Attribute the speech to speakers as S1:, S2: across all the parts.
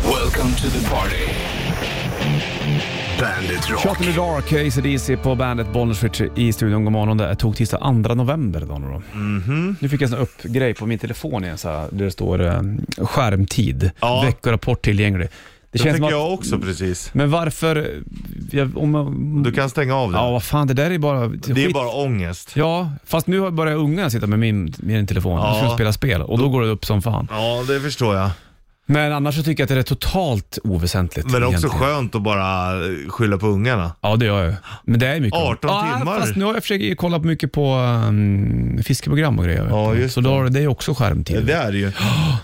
S1: Welcome to the party. Bandit
S2: Shot in the Dark, ACDC på bandet Bollnäs Ritchie i studion. God morgon. Det tog tisdag 2 november idag nu då.
S3: Mhm.
S2: Nu fick jag en sån upp grej på min telefon igen så här, där det står eh, skärmtid,
S3: Ja.
S2: veckorapport tillgänglig. Det
S3: Det
S2: känns
S3: tänker
S2: som att,
S3: jag också precis.
S2: men varför, eh, jag, om man,
S3: Du kan stänga av den.
S2: ja vad fan det där är bara
S3: det är
S2: skit.
S3: bara ångest.
S2: Ja, fast nu har jag börjat ungarna sitta med min, min telefon
S3: Ja.
S2: och ska spela spel och då går det upp som fan.
S3: Ja, det förstår jag.
S2: Men annars så tycker jag att det är totalt oväsentligt.
S3: Men det är också
S2: egentligen.
S3: skönt att bara eh, skylla på ungarna.
S2: Ja, det gör jag. Men det är mycket.
S3: 18
S2: ja,
S3: timmar.
S2: Fast nu har jag försökt kolla mycket på um, fiskeprogram och grejer. vet
S3: Ja,
S2: du.
S3: just
S2: så då har det är ju också skärmtid.
S3: Det är det ju.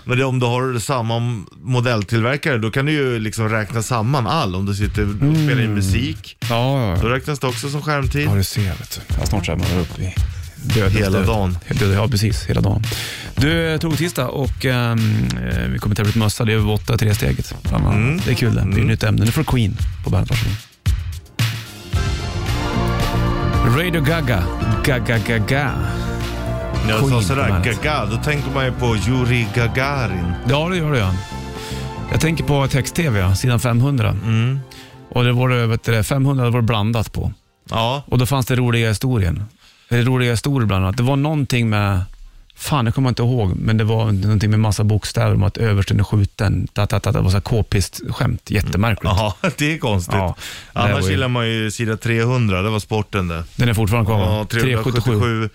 S3: Men det, om du har samma modelltillverkare, då kan du ju liksom räkna samman all. Om du sitter och
S2: Mm.
S3: spelar in musik,
S2: Ja, ja.
S3: då räknas det också som skärmtid.
S2: ja, du ser. Vet du. Ja, snart så är man uppe i dödens
S3: Hela
S2: död.
S3: dagen.
S2: Helt död. Ja, precis. Hela dagen. Du, eh, tog tisdag och ehm, eh, vi kommer tävla ut mössa. Det är över åtta, tre steget bland annat.
S3: Mm.
S2: Det är kul det. Det är ett nytt ämne. Nu får du Queen på bandet. Varsågod. Radio Gaga. Gaga, Gaga.
S3: När jag sa
S2: Queen på
S3: sådär,
S2: bandet.
S3: gaga, då tänkte man ju på Yuri Gagarin.
S2: Ja, det gör det ja. Jag tänker på text-tv, ja, sidan 500.
S3: Mm.
S2: Och det var det, vet du, det, 500 var det blandat på.
S3: Ja,
S2: Och då fanns det roliga historien. Eller roliga historier bland annat. Det var någonting med, fan jag kommer inte ihåg, men det var någonting med massa bokstäver om att översten är skjuten. Ta, ta, ta, det var så här k-pist-skämt. Jättemärkligt.
S3: Jaha, det är konstigt.
S2: Ja, det
S3: Annars
S2: var ju-
S3: gillar man ju sida 300, det var sporten det.
S2: Den är fortfarande kvar va?
S3: Ja, 377.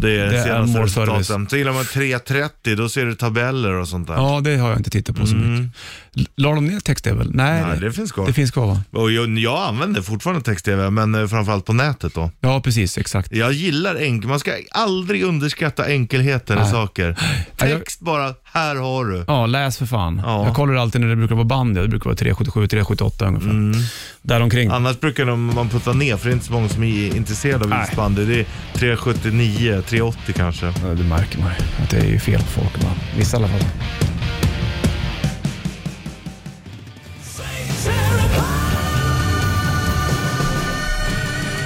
S3: Det är
S2: Det är
S3: senaste
S2: målservice.
S3: resultaten. Så gillar man 330, då ser du tabeller och sånt där.
S2: Ja, det har jag inte tittat på så mycket. L- La de ner text-tv? Nej,
S3: Mm. Nej, det finns kvar.
S2: det finns kvar va?
S3: Och jag, jag använder fortfarande text-tv, men eh, framförallt på nätet då.
S2: Ja, precis. Exakt.
S3: Jag gillar enkel, man ska aldrig underskatta enkelheten i saker.
S2: Nej, jag-
S3: Text bara, här har du.
S2: Ja, läs för fan.
S3: Ja.
S2: Jag kollar alltid när det brukar vara band. ja. Det brukar vara 377, 378 ungefär. Däromkring.
S3: Annars brukar de, man putta ner, för det är inte så många som är intresserade av
S2: Nej.
S3: isbandy. Det är 379, 380 kanske.
S2: Ja, Det märker man ju. Att det är ju fel på folk. Man. Vissa i alla fall.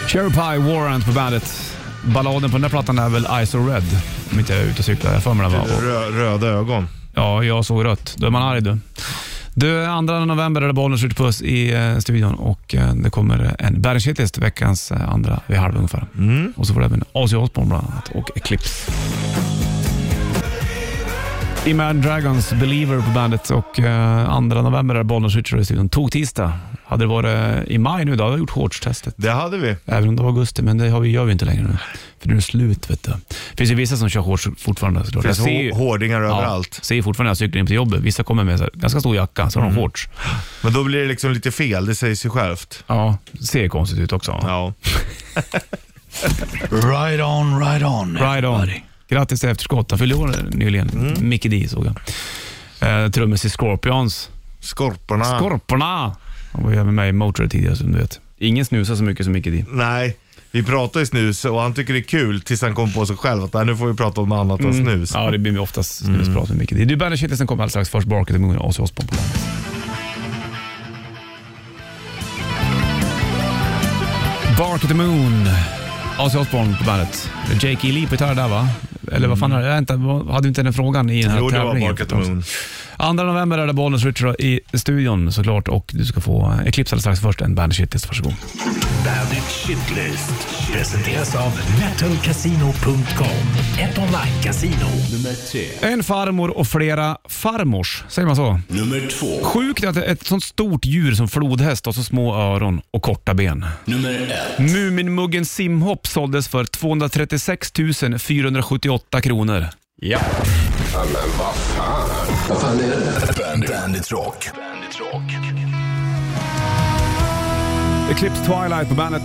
S2: Cherry Pie Warrant på bandet. Balladen på den där plattan är väl Ice or Red. Om inte jag är ute och cyklar. Jag får mig den va? Och-
S3: Rö, röda ögon.
S2: Ja, jag såg rött. Då är man arg du. Du, 2 november är det bollen skjuter puss i eh, studion och eh, det kommer en Bandage veckans eh, andra vid halv ungefär.
S3: Mm.
S2: Och så får det även Ozzy Osbourne bland annat och Eclipse. Imagine Dragons Believer på bandet och eh, 2 november är det bollen skjuter i studion. Tog tisdag. Hade det varit eh, i maj nu då hade jag gjort shortstestet.
S3: Det hade vi.
S2: Även om det var augusti, men det har vi, gör vi inte längre nu. För nu är det slut vet du. Det finns ju vissa som kör shorts fortfarande såklart.
S3: Det
S2: Jag ser
S3: finns
S2: ju-
S3: Alltså, hå- hårdingar
S2: Ja,
S3: överallt.
S2: Ser fortfarande när jag cyklar in på jobbet. Vissa kommer med så här, ganska stor jacka, så har de shorts.
S3: Men då blir det liksom lite fel, det säger sig självt.
S2: Ja, ser konstigt ut också.
S3: Ja.
S1: Right on, right on.
S2: Ride on. Grattis till efterskott. Han fyllde år nyligen. Mickey D såg jag. Eh, Trummis i Scorpions.
S3: Skorporna.
S2: Skorporna! Han var ju även med i Motörhead tidigare som du vet. Ingen snusar så mycket som Mickey D.
S3: Nej, vi pratar ju snus och han tycker det är kul tills han kommer på sig själv att nej, nu får vi prata om annat än snus.
S2: Mm. Ja, det blir ju oftast
S3: Mm.
S2: snusprat med Mickey D. Du, Bandet Shitlisten kommer alldeles strax. Först Bark at the Moon och Ozzy Osbourne på bandet. Bark at the Moon, Ozzy Osbourne på bandet. Jake E. Lee på gitarr där va? Eller vad fan är det? Jag inte, hade vi inte den frågan i den här
S3: Mm. Jo, det var
S2: tävlingen?
S3: Bark at the Moon.
S2: 2 november är det Bollnäs Richard i studion såklart och du ska få Eclipse alldeles strax. Först en Bandet Shitlist, varsågod.
S1: Bandit Shitlist presenteras av metalcasino.com. Ett online-casino. Nummer tre.
S2: En farmor och flera farmors, säger man så?
S1: Nummer två.
S2: Sjukt att ett sånt stort djur som flodhäst har så små öron och korta ben.
S1: Nummer ett.
S2: Muminmuggen Simhopp såldes för 236 478 kronor. Ja.
S1: Vad fan är det? Bandit, Bandit Rock. Bandit Rock.
S2: Eclipse Twilight på bandet.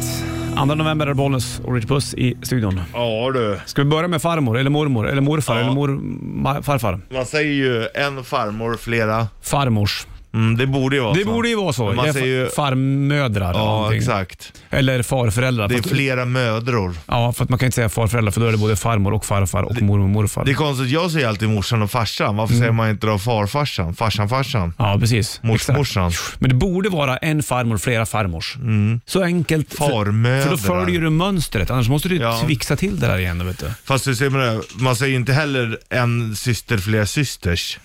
S2: 2 november är det Bollnäs och Rich Puss i studion.
S3: Ja du.
S2: Ska vi börja med farmor, eller mormor, eller morfar,
S3: Ja.
S2: eller mor, ma- farfar?
S3: Man säger ju en farmor flera.
S2: Farmors.
S3: Mm, det borde ju vara
S2: Det
S3: så.
S2: borde ju vara så.
S3: Men Man
S2: Det är
S3: säger ju...
S2: fa- Farmödrar. eller
S3: Ja,
S2: någonting.
S3: exakt.
S2: Eller farföräldrar.
S3: Det är
S2: Fast-
S3: flera mödror.
S2: Ja, för att man kan inte säga farföräldrar för då är det både farmor och farfar och mormor och morfar.
S3: Det är konstigt, jag säger alltid morsan och farsan. Varför
S2: Mm.
S3: säger man inte då farfarsan? Farsan, farsan?
S2: Ja, precis. Exakt.
S3: Morsmorsan?
S2: Men det borde vara en farmor, flera farmors.
S3: Mm.
S2: Så enkelt. För-
S3: Farmödrar.
S2: För då följer du mönstret, annars måste du
S3: Ja.
S2: fixa till det där igen. Vet du.
S3: Fast du ser man, det, man säger ju inte heller en syster, flera systers.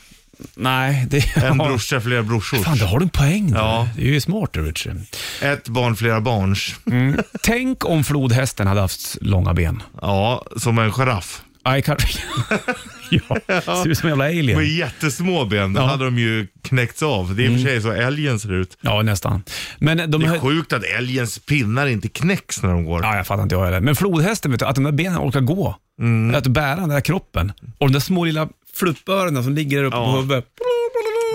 S2: Nej, det...
S3: En brorsa, flera brorsor.
S2: Fan, där har du en poäng. där.
S3: Ja.
S2: Det är ju smart, Richard.
S3: Ett barn, flera barns.
S2: Mm. Tänk om flodhästen hade haft långa ben.
S3: Ja, som en giraff.
S2: Aj, kan... ja, ser ut som en jävla
S3: Med
S2: alien.
S3: jättesmå ben, då
S2: Mm. Ja.
S3: hade de ju knäckts av. Det är i och för sig så älgen ser ut.
S2: Ja, nästan. Men de
S3: Det är
S2: här...
S3: sjukt att älgens pinnar inte knäcks när de går.
S2: Ja, jag fattar inte jag heller. Men flodhästen, vet du, att de där benen orkar gå.
S3: Mm.
S2: Att bära den där kroppen. Och de där små lilla fluppöronen som ligger där uppe
S3: Ja.
S2: på huvudet.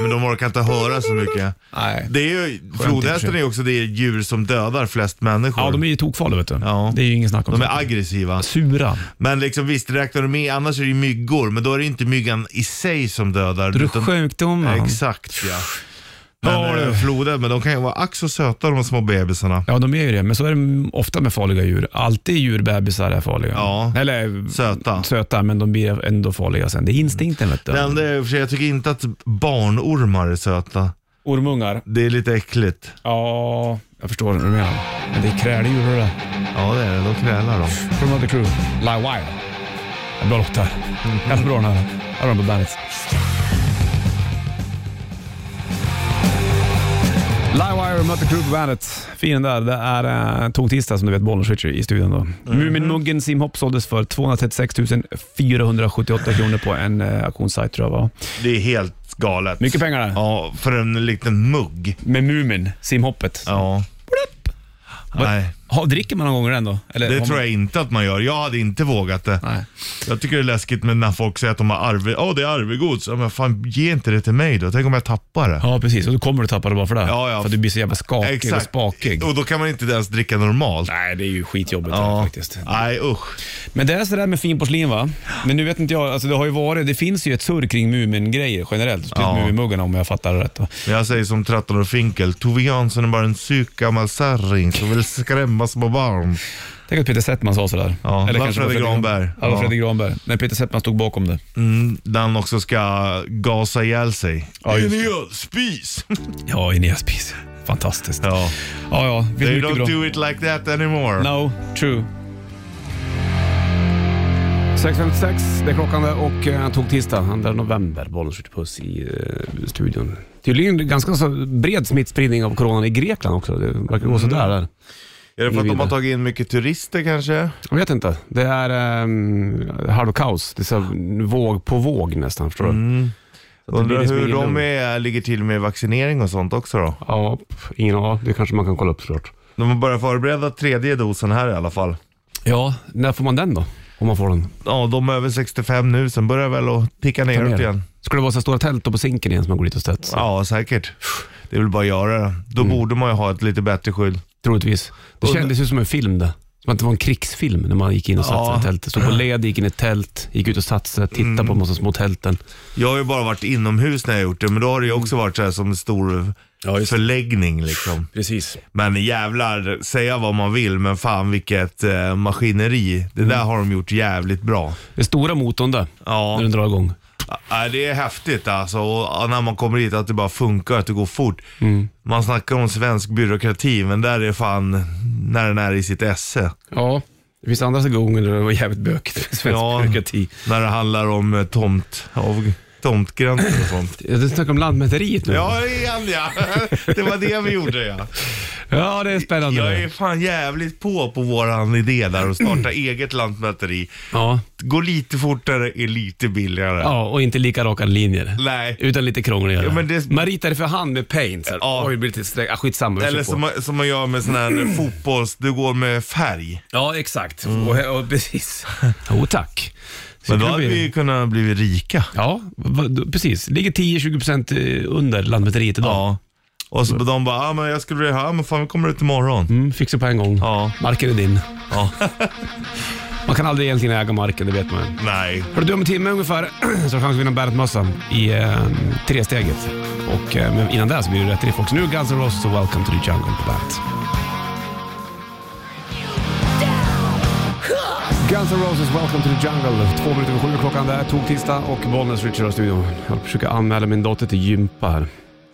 S3: Men de orkar inte höra så mycket.
S2: Nej.
S3: Det är ju, flodhästen är också det djur som dödar flest människor.
S2: Ja, de är ju tokfarliga, vet du.
S3: Ja.
S2: Det är ju ingen snack om
S3: De
S2: det.
S3: är aggressiva.
S2: Sura.
S3: Men liksom visst, räknar du med, annars är det ju myggor, men då är det inte myggan i sig som dödar.
S2: Då är det
S3: utan-
S2: sjukdomar.
S3: Exakt ja. Men,
S2: Ja,
S3: eh,
S2: du.
S3: floden, men de kan ju vara ack så söta de små bebisarna.
S2: Ja, de är ju det. Men så är det ofta med farliga djur. Alltid djurbebisar är farliga.
S3: Ja.
S2: Eller
S3: Söta.
S2: söta, men de blir ändå farliga sen. Det är instinkten, vet du.
S3: Det enda är i och för sig, jag tycker inte att barnormar är söta.
S2: Ormungar.
S3: Det är lite äckligt.
S2: Ja, jag förstår vad du menar. Men det är kräldjur det där.
S3: Ja det är det, de krälar de.
S2: From Another Crew, Live Wild. En bra låt där.
S3: Mhm.
S2: Jävla bra den här. Här har de på bandet. Livewire och Mötte Crew på bandet. Fin den där. Det är eh, tog tisdag som du vet, Bollenswitcher i studion
S3: Mhm.
S2: då. Muminmuggen Simhopp såldes för 236 478 kronor på en eh, auktionssajt tror jag va?
S3: Det är helt galet.
S2: Mycket pengar där.
S3: Ja, för en liten mugg.
S2: Med Mumin, simhoppet.
S3: Ja. Nej,
S2: Ha, dricker man någon gång den då? Eller
S3: det
S2: har
S3: tror
S2: man...
S3: jag inte att man gör. Jag hade inte vågat det.
S2: Nej.
S3: Jag tycker det är läskigt med när folk säger att de har arve, åh det är arvegods. Ja, men fan ge inte det till mig då. Tänk om jag tappar det.
S2: Ja, precis. Och då kommer du tappa det bara för det.
S3: Ja, ja.
S2: För att du blir så jävla skakig och spakig.
S3: Och då kan man inte ens dricka normalt.
S2: Nej, det är ju skitjobbigt
S3: Ja.
S2: ja. faktiskt.
S3: Nej usch.
S2: Men det är sådär med finporslin va? Men nu vet inte jag, alltså det har ju varit, det finns ju ett surr kring Mumin-grejer generellt. Speciellt
S3: Ja.
S2: Muminmuggarna om jag fattar det rätt. va?
S3: Men jag säger som Trattan och Finkel, Tove Jansson är bara en psyk gammal särring som vill skrämma små barn.
S2: Tänk att Peter Settman sa sådär.
S3: Ja, det var
S2: kanske
S3: Fredrik Granberg.
S2: Ja, det var
S3: Ja.
S2: Fredrik Granberg. När Peter Settman stod bakom det.
S3: Mm, där han också ska gasa ihjäl sig.
S2: Ja,
S3: In
S2: just
S3: i öl, spis!
S2: Ja, i Neaspis. Fantastiskt. Ja,
S3: ja.
S2: ja. ja det
S3: They
S2: är mycket
S3: don't
S2: bra.
S3: do it like that anymore.
S2: No, true. 6.56, det är klockan där och eh, han tog tisdag, 2 november, Bollnäs skjuter puss i eh, studion. Tydligen ganska så bred smittspridning av coronan i Grekland också. Det verkar gå
S3: Mm.
S2: sådär där.
S3: Är det för att de har
S2: Vidare.
S3: tagit in mycket turister kanske?
S2: Jag vet inte. Det är um, halvkaos. Det är så här, våg på våg nästan, förstår du? Så att det blir
S3: Mm. Undrar
S2: liksom
S3: hur
S2: ingen
S3: de
S2: lugn.
S3: är, ligger till med vaccinering och sånt också då.
S2: Ja, pff, ingen aning. Det kanske man kan kolla upp såklart.
S3: De har börjat förbereda tredje dosen här i alla fall.
S2: Ja, när får man den då? Om man får den.
S3: Ja, de är över 65 nu, sen börjar väl att ticka neråt igen.
S2: Skulle det vara så här stora tält då på Zinken igen som man går dit och stöts?
S3: Ja, säkert. Det är väl bara att göra det. Då
S2: Mm.
S3: borde man ju ha ett lite bättre skydd.
S2: Troligtvis. Det
S3: Och-
S2: kändes ju som en film det. Som att det var en krigsfilm när man gick in och satte
S3: Ja. Mm.
S2: sig i tältet. Stod på led, gick in i ett tält, gick ut och satte sig, tittade på de massa små tälten.
S3: Jag har ju bara varit inomhus när jag gjort det, men då har det ju också varit så här som en stor
S2: Ja, just det.
S3: förläggning liksom.
S2: Precis.
S3: Men jävlar, säga vad man vill, men fan vilket eh, maskineri. Det där har de gjort jävligt bra.
S2: Den stora motorn där,
S3: Ja.
S2: när den drar igång.
S3: Ja, det är häftigt alltså. Och när man kommer hit att det bara funkar, att det går fort.
S2: Mm.
S3: Man snackar om svensk byråkrati, men där är fan när den är i sitt esse.
S2: Ja. Det finns andra gånger där det var jävligt bökigt. Svensk
S3: Ja.
S2: byråkrati.
S3: När det handlar om eh, tomt, av, tomtgränser och sånt.
S2: Ja, Du snackar om Lantmäteriet nu.
S3: Ja, igen ja. Det var det vi gjorde ja.
S2: ja det är spännande. Mm.
S3: Jag är fan jävligt på på våran idé där att starta eget lantmäteri.
S2: ja.
S3: Gå lite fortare, är lite billigare.
S2: ja, och inte lika raka linjer.
S3: Nej.
S2: Utan lite krångligare.
S3: Ja, men det-
S2: Man ritar det för hand med paint. Så
S3: Ja.
S2: ja. Oj, det blir lite streck. Ah, skitsamma. vi kör
S3: Eller
S2: på.
S3: som, man- som man gör med sån här fotbolls... Du går med färg.
S2: Ja, exakt. Och, och, precis. Jo, tack. Så
S3: Mm. Men då
S2: det
S3: hade
S2: blir-
S3: vi ju kunnat bli rika.
S2: Ja, va- då- precis. Ligger 10-20% eh, under Lantmäteriet idag.
S3: Ja. Och så de bara, ah, men jag skulle vilja höra, men fan vi kommer ut imorgon.
S2: Mm, fixa på en gång.
S3: Ja.
S2: Marken är din.
S3: Ja.
S2: Man kan aldrig egentligen äga marken, det vet man ju.
S3: Nej.
S2: Hörru du, om en timme ungefär så har du chans att vinna Bandet-mössan i eh, tresteget. Och, eh, men innan det så blir det rätt riff också. Nu är Guns N' Roses och Welcome to the Jungle på Bandet. Guns N' Roses, Welcome to the Jungle. Två minuter över sju klockan där, tog tisdag och Bollnäs Richard i studion. Jag håller på att försöka anmäla min dotter till gympa här.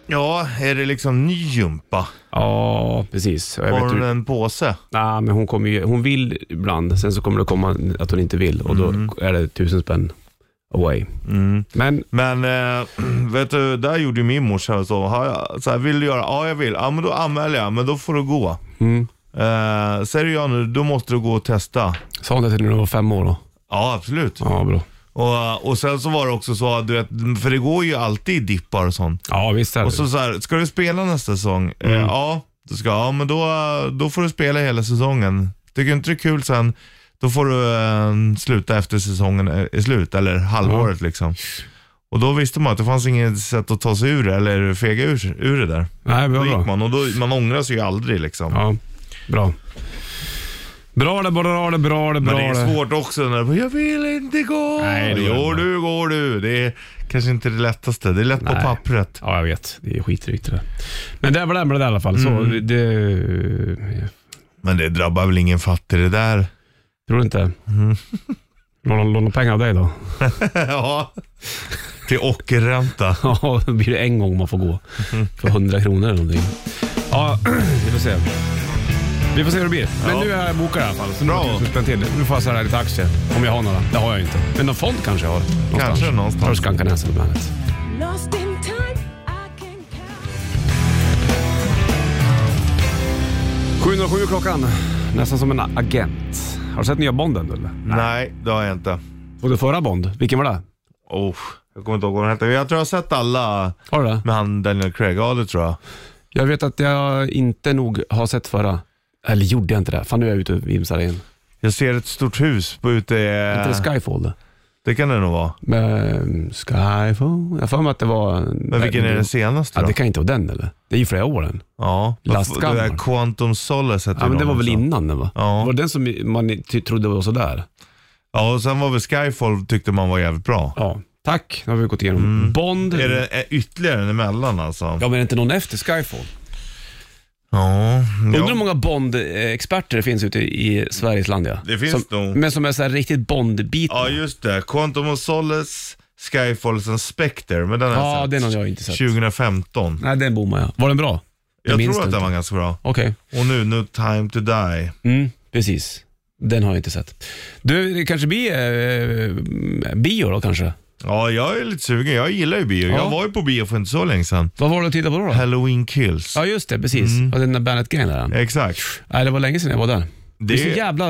S3: Ja, är det liksom ny gympa?
S2: Ja, precis. Och Jag
S3: Har
S2: vet
S3: hon
S2: hur,
S3: en påse?
S2: nej, men hon,
S3: Mm.
S2: kommer ju, hon vill ibland, sen så kommer det komma att hon inte vill och då är det tusen spänn away. Men
S3: Men eh, vet du, där gjorde ju min morsa så. Har jag, så här, vill du göra? Ja, jag vill. Ja, men då anmäler jag. Men då får du gå.
S2: mm,
S3: Eh, säger du ja nu, då måste du gå och testa.
S2: sa hon det till när du var fem år då?
S3: Ja, absolut.
S2: Ja, bra.
S3: Och, och sen så var det också så, att du vet, för det går ju alltid dippar och sånt.
S2: Ja, visst är det.
S3: Och så, så här, ska du spela nästa säsong? Eh, ja, då ska jag. Ja, men då, då får du spela hela säsongen. Tycker inte det är kul sen, då får du eh, sluta efter säsongen är är slut, eller halvåret liksom. Och då visste man att det fanns inget sätt att ta sig ur det, eller fega ur, ur det där.
S2: Nej, bra,
S3: Då
S2: bra.
S3: gick man och då, man ångrar sig ju aldrig liksom.
S2: Ja, bra. Bra det, bra det, bra det,
S3: Men
S2: bra
S3: det är svårt också när du bara, jag vill inte gå.
S2: Nej, det går
S3: går
S2: inte.
S3: du, går du. Det är kanske inte det lättaste. Det är lätt
S2: Nej.
S3: på pappret.
S2: Ja, jag vet. Det är skitdrygt det där. Men det var det med det där i alla fall. Så
S3: Mm.
S2: det...
S3: Men det drabbar väl ingen fattig det där.
S2: Tror du inte?
S3: Mm.
S2: Låna, låna pengar av dig då?
S3: ja, till ockerränta.
S2: Ja, då blir det en gång man får gå. För 100 kronor eller någonting. Ja, vi får se. Vi får se hur det blir. Men
S3: Ja.
S2: nu är jag bokad i alla fall. Så nu
S3: Bra.
S2: har jag tusen spänn till. Nu får jag sälja lite aktier. Om jag har några. Det har jag inte. Men någon fond kanske jag har. Någonstans.
S3: Kanske någonstans.
S2: Hörs Skankanäs eller Bandet.
S4: Lost in time, I can count.
S2: 7.07 klockan. Nästan som en agent. Har du sett nya Bonden eller?
S3: Nej, det har jag inte.
S2: Och det förra Bond, vilken var det?
S3: Oh, jag kommer inte ihåg vad den hette. Jag tror jag har sett alla
S2: Har du det?
S3: med han Daniel Craig. Ja, det tror jag.
S2: Jag vet att jag inte nog har sett förra. Eller gjorde jag inte det? Fan nu är jag ute och vimsar igen.
S3: Jag ser ett stort hus på ute i...
S2: Äh. Inte det Skyfall det?
S3: Det kan det nog vara.
S2: Men, Skyfall? Jag har för mig att det var...
S3: Men vilken är den senaste
S2: Ja,
S3: då?
S2: det kan inte vara den eller? Det är ju flera år än.
S3: Ja,
S2: Lastgammal.
S3: Det där Quantum Solace hette
S2: Ja, men
S3: de
S2: det var väl
S3: också.
S2: innan den va?
S3: Ja.
S2: Var det den som man ty- trodde var sådär?
S3: Ja, och sen var väl Skyfall tyckte man var jävligt bra.
S2: Ja. Tack, nu har vi gått igenom. Bond.
S3: Mm. Är det är ytterligare en emellan alltså?
S2: Mm. Ja, men är det inte någon efter Skyfall?
S3: Ja,
S2: Undrar hur
S3: ja.
S2: många Bond-experter det finns ute i Sveriges land ja.
S3: Det finns
S2: som,
S3: nog.
S2: Men som är så här riktigt Bond-bitna.
S3: ja just det. Quantum of Solace, Skyfall, sen Spectre. Men den har
S2: Ja,
S3: jag sett.
S2: den har jag inte sett.
S3: 2015.
S2: Nej, den bommade jag. Var den bra?
S3: Jag
S2: minns
S3: tror att
S2: inte.
S3: den var ganska bra.
S2: Okej.
S3: Och nu, No Time To Die.
S2: Mm, precis. Den har jag inte sett. Du, det kanske blir eh, bio då kanske?
S3: Ja, jag är lite sugen. Jag gillar ju bio.
S2: Ja.
S3: Jag var ju på bio för inte så länge sedan.
S2: Vad var det du tittade på då? då?
S3: Halloween Kills.
S2: Ja, just det. Precis. Mm. Och den där Bandet-grejen där.
S3: Exakt.
S2: Nej, det var länge sedan jag var där. Det, är så
S3: Det
S2: jävla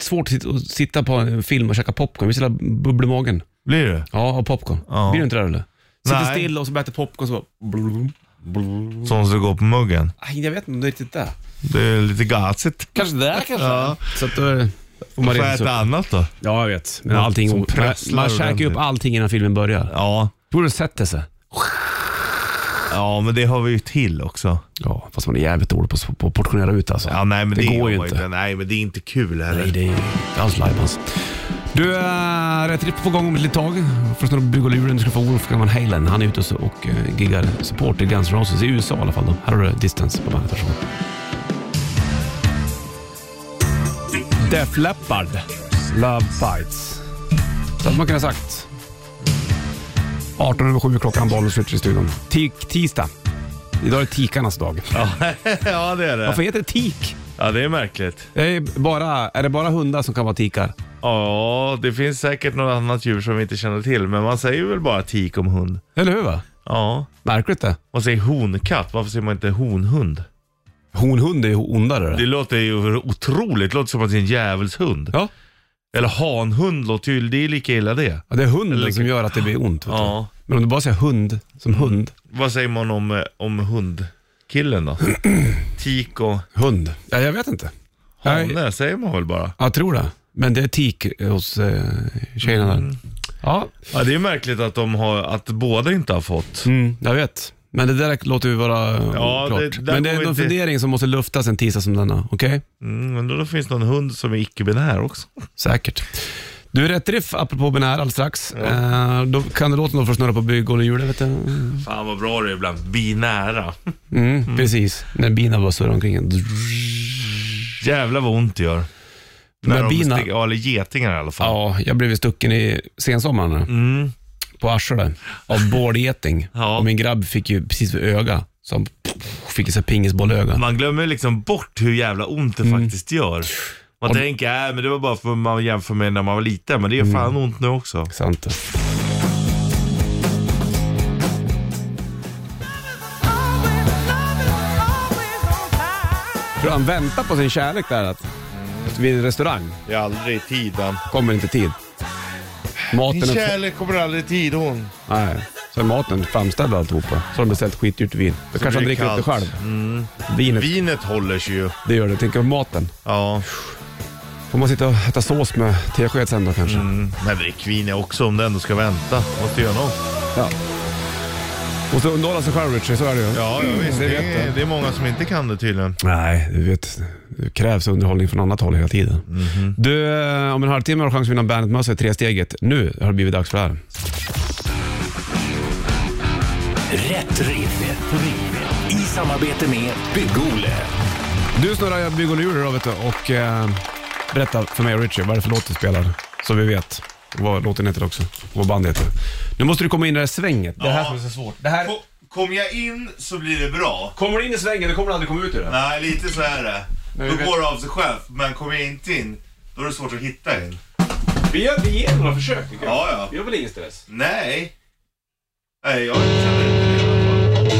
S2: svårt att sit- att sitta på en film och käka popcorn. Vi sitter bubbel i magen.
S3: blir det.
S2: Ja, och popcorn.
S3: Ja.
S2: Blir du inte det eller? Sitter
S3: Nej.
S2: still och så bara äter popcorn så bara...
S3: Sånt som går på muggen.
S2: Aj, jag vet inte riktigt det.
S3: Det är lite gasigt.
S2: Kanske det kanske.
S3: Ja.
S2: Så att då får man
S3: Får jag
S2: reda sig
S3: äta
S2: upp.
S3: annat då?
S2: Ja, jag vet. Men allting...
S3: Som
S2: Man,
S3: prasslar
S2: man käkar ju upp
S3: ordentligt.
S2: allting innan filmen börjar.
S3: Ja.
S2: Tror du det sätter sig?
S3: ja, men det har vi ju till också.
S2: Ja, fast man är jävligt dålig på att på att portionera ut alltså.
S3: Ja, nej, men
S2: det,
S3: det,
S2: går
S3: gör
S2: ju
S3: man
S2: inte.
S3: Nej, men det är inte kul heller.
S2: Nej, det är ju inte alls lajbans. Du, äh, Rätt Riff på gång om ett litet tag. Först när du bygger luren ska få Wolf Van Halen. Han är ute och, och eh, giggar support till Guns N' Roses i USA i alla fall. Då. Här har du Distance på bandet. Varsågod. Def Leppard, Love Bites. Så hade man kunnat sagt. 18 över 7 klockan, bollen i studion. Tik, tisdag. Idag är det tikarnas dag.
S3: ja, det är det.
S2: Varför heter det tik?
S3: Ja, det är märkligt.
S2: Det är, bara, är det bara hundar som kan vara tikar?
S3: Ja, det finns säkert något annat djur som vi inte känner till, men man säger väl bara tik om hund.
S2: Eller hur? Va?
S3: Ja.
S2: Märkligt det.
S3: Man säger honkatt, varför säger man inte honhund?
S2: Honhund är ju ondare.
S3: Det låter ju otroligt, det låter som att det är en djävulshund.
S2: Ja.
S3: Eller hanhund låter ju, det är lika illa det.
S2: ja, det är hunden som gör att det blir ont. Vet
S3: Ja. Mm.
S2: du. Men om du bara säger hund som hund.
S3: Vad säger man om, eh, om hundkillen då? Tik och
S2: Hund. Ja, jag vet inte. Nej,
S3: hane säger man väl bara?
S2: jag tror det. Men det är tik hos eh, tjejerna där.
S3: Mm.
S2: Ja,
S3: Ja, det är märkligt att, de har, att båda inte har fått.
S2: mm, jag vet. Men det där låter ju vara eh,
S3: Ja,
S2: klart.
S3: det- där
S2: Men det är
S3: går
S2: någon
S3: vi inte-
S2: fundering som måste luftas en tisdag som denna. Okej?
S3: Mm, men då finns det någon hund som är icke-binär också.
S2: Säkert. Du, rätt riff apropå binär alldeles strax. Eh, då kan du låta någon få snurra på bygghjulet, vet du.
S3: Fan vad bra det är ibland. Binära.
S2: Mm, Precis, när bina bara surrar omkring en.
S3: Jävlar vad ont det gör.
S2: Men
S3: När de
S2: bina-
S3: sticker, ja, eller getingar i alla fall.
S2: Ja, jag blev ju stucken i sensommaren på arslet av bålgeting.
S3: Mm. Ja.
S2: Och min grabb fick ju precis vid öga, som fick ett så här pingisbollöga.
S3: Man glömmer liksom bort hur jävla ont det
S2: Mm.
S3: faktiskt gör.
S2: Mm.
S3: Man tänker, äh, men det var bara för att man jämför med när man var liten, men det är fan ont nu också.
S2: Sant det. Tror han väntar på sin kärlek där? Att, att vid en restaurang
S3: Det är aldrig i tiden.
S2: kommer inte tid. Maten
S3: Min
S2: är...
S3: kärlek kommer aldrig i tid hon.
S2: Nej. Så är maten framställd och alltihopa. Så har de beställt skitdyrt vin. Då kanske han
S3: blir
S2: dricker
S3: det
S2: upp det
S3: kallt. Mm.
S2: själv. Vinet,
S3: Vinet håller sig ju.
S2: det gör det. Tänk på maten.
S3: Ja.
S2: Får man sitta och äta sås med tesked sen då kanske.
S3: Mm. Men drick vin jag också om det ändå ska vänta. Måste göra något.
S2: Ja. Måste underhålla sig själv Richie, så är det ju.
S3: Ja, ja visst.
S2: det
S3: Det
S2: vet
S3: är, det är många som inte kan det tydligen.
S2: Nej, du vet. Det krävs underhållning från annat håll hela tiden.
S3: Mhm.
S2: Du, eh, om en halvtimme har du chans att vinna en Bandet-mössa i tresteget. Nu har det blivit dags för det här.
S1: Rätt riff. Rätt riff. I samarbete med Bygg-Ole.
S2: Du snurrar Bygg och Luleå då, vet du, och eh, berätta för mig och Richie vad det är för låt du spelar. Så vi vet vad låten heter också, och vad bandet heter. Nu måste du komma in i det här svänget. Det här som är så svårt. Det här...
S3: Kommer jag in så blir det bra.
S2: Kommer du in i svängen, då kommer du aldrig komma ut ur det.
S3: Nej, lite så är det.
S2: Men vi vet-
S3: det av sig själv. Men kommer jag inte in, då är det svårt att hitta in.
S2: Vi gör, vi ger några försök tycker jag.
S3: Ja, ja.
S2: Vi har väl ingen stress?
S3: Nej. Nej, jag känner inte det i alla fall.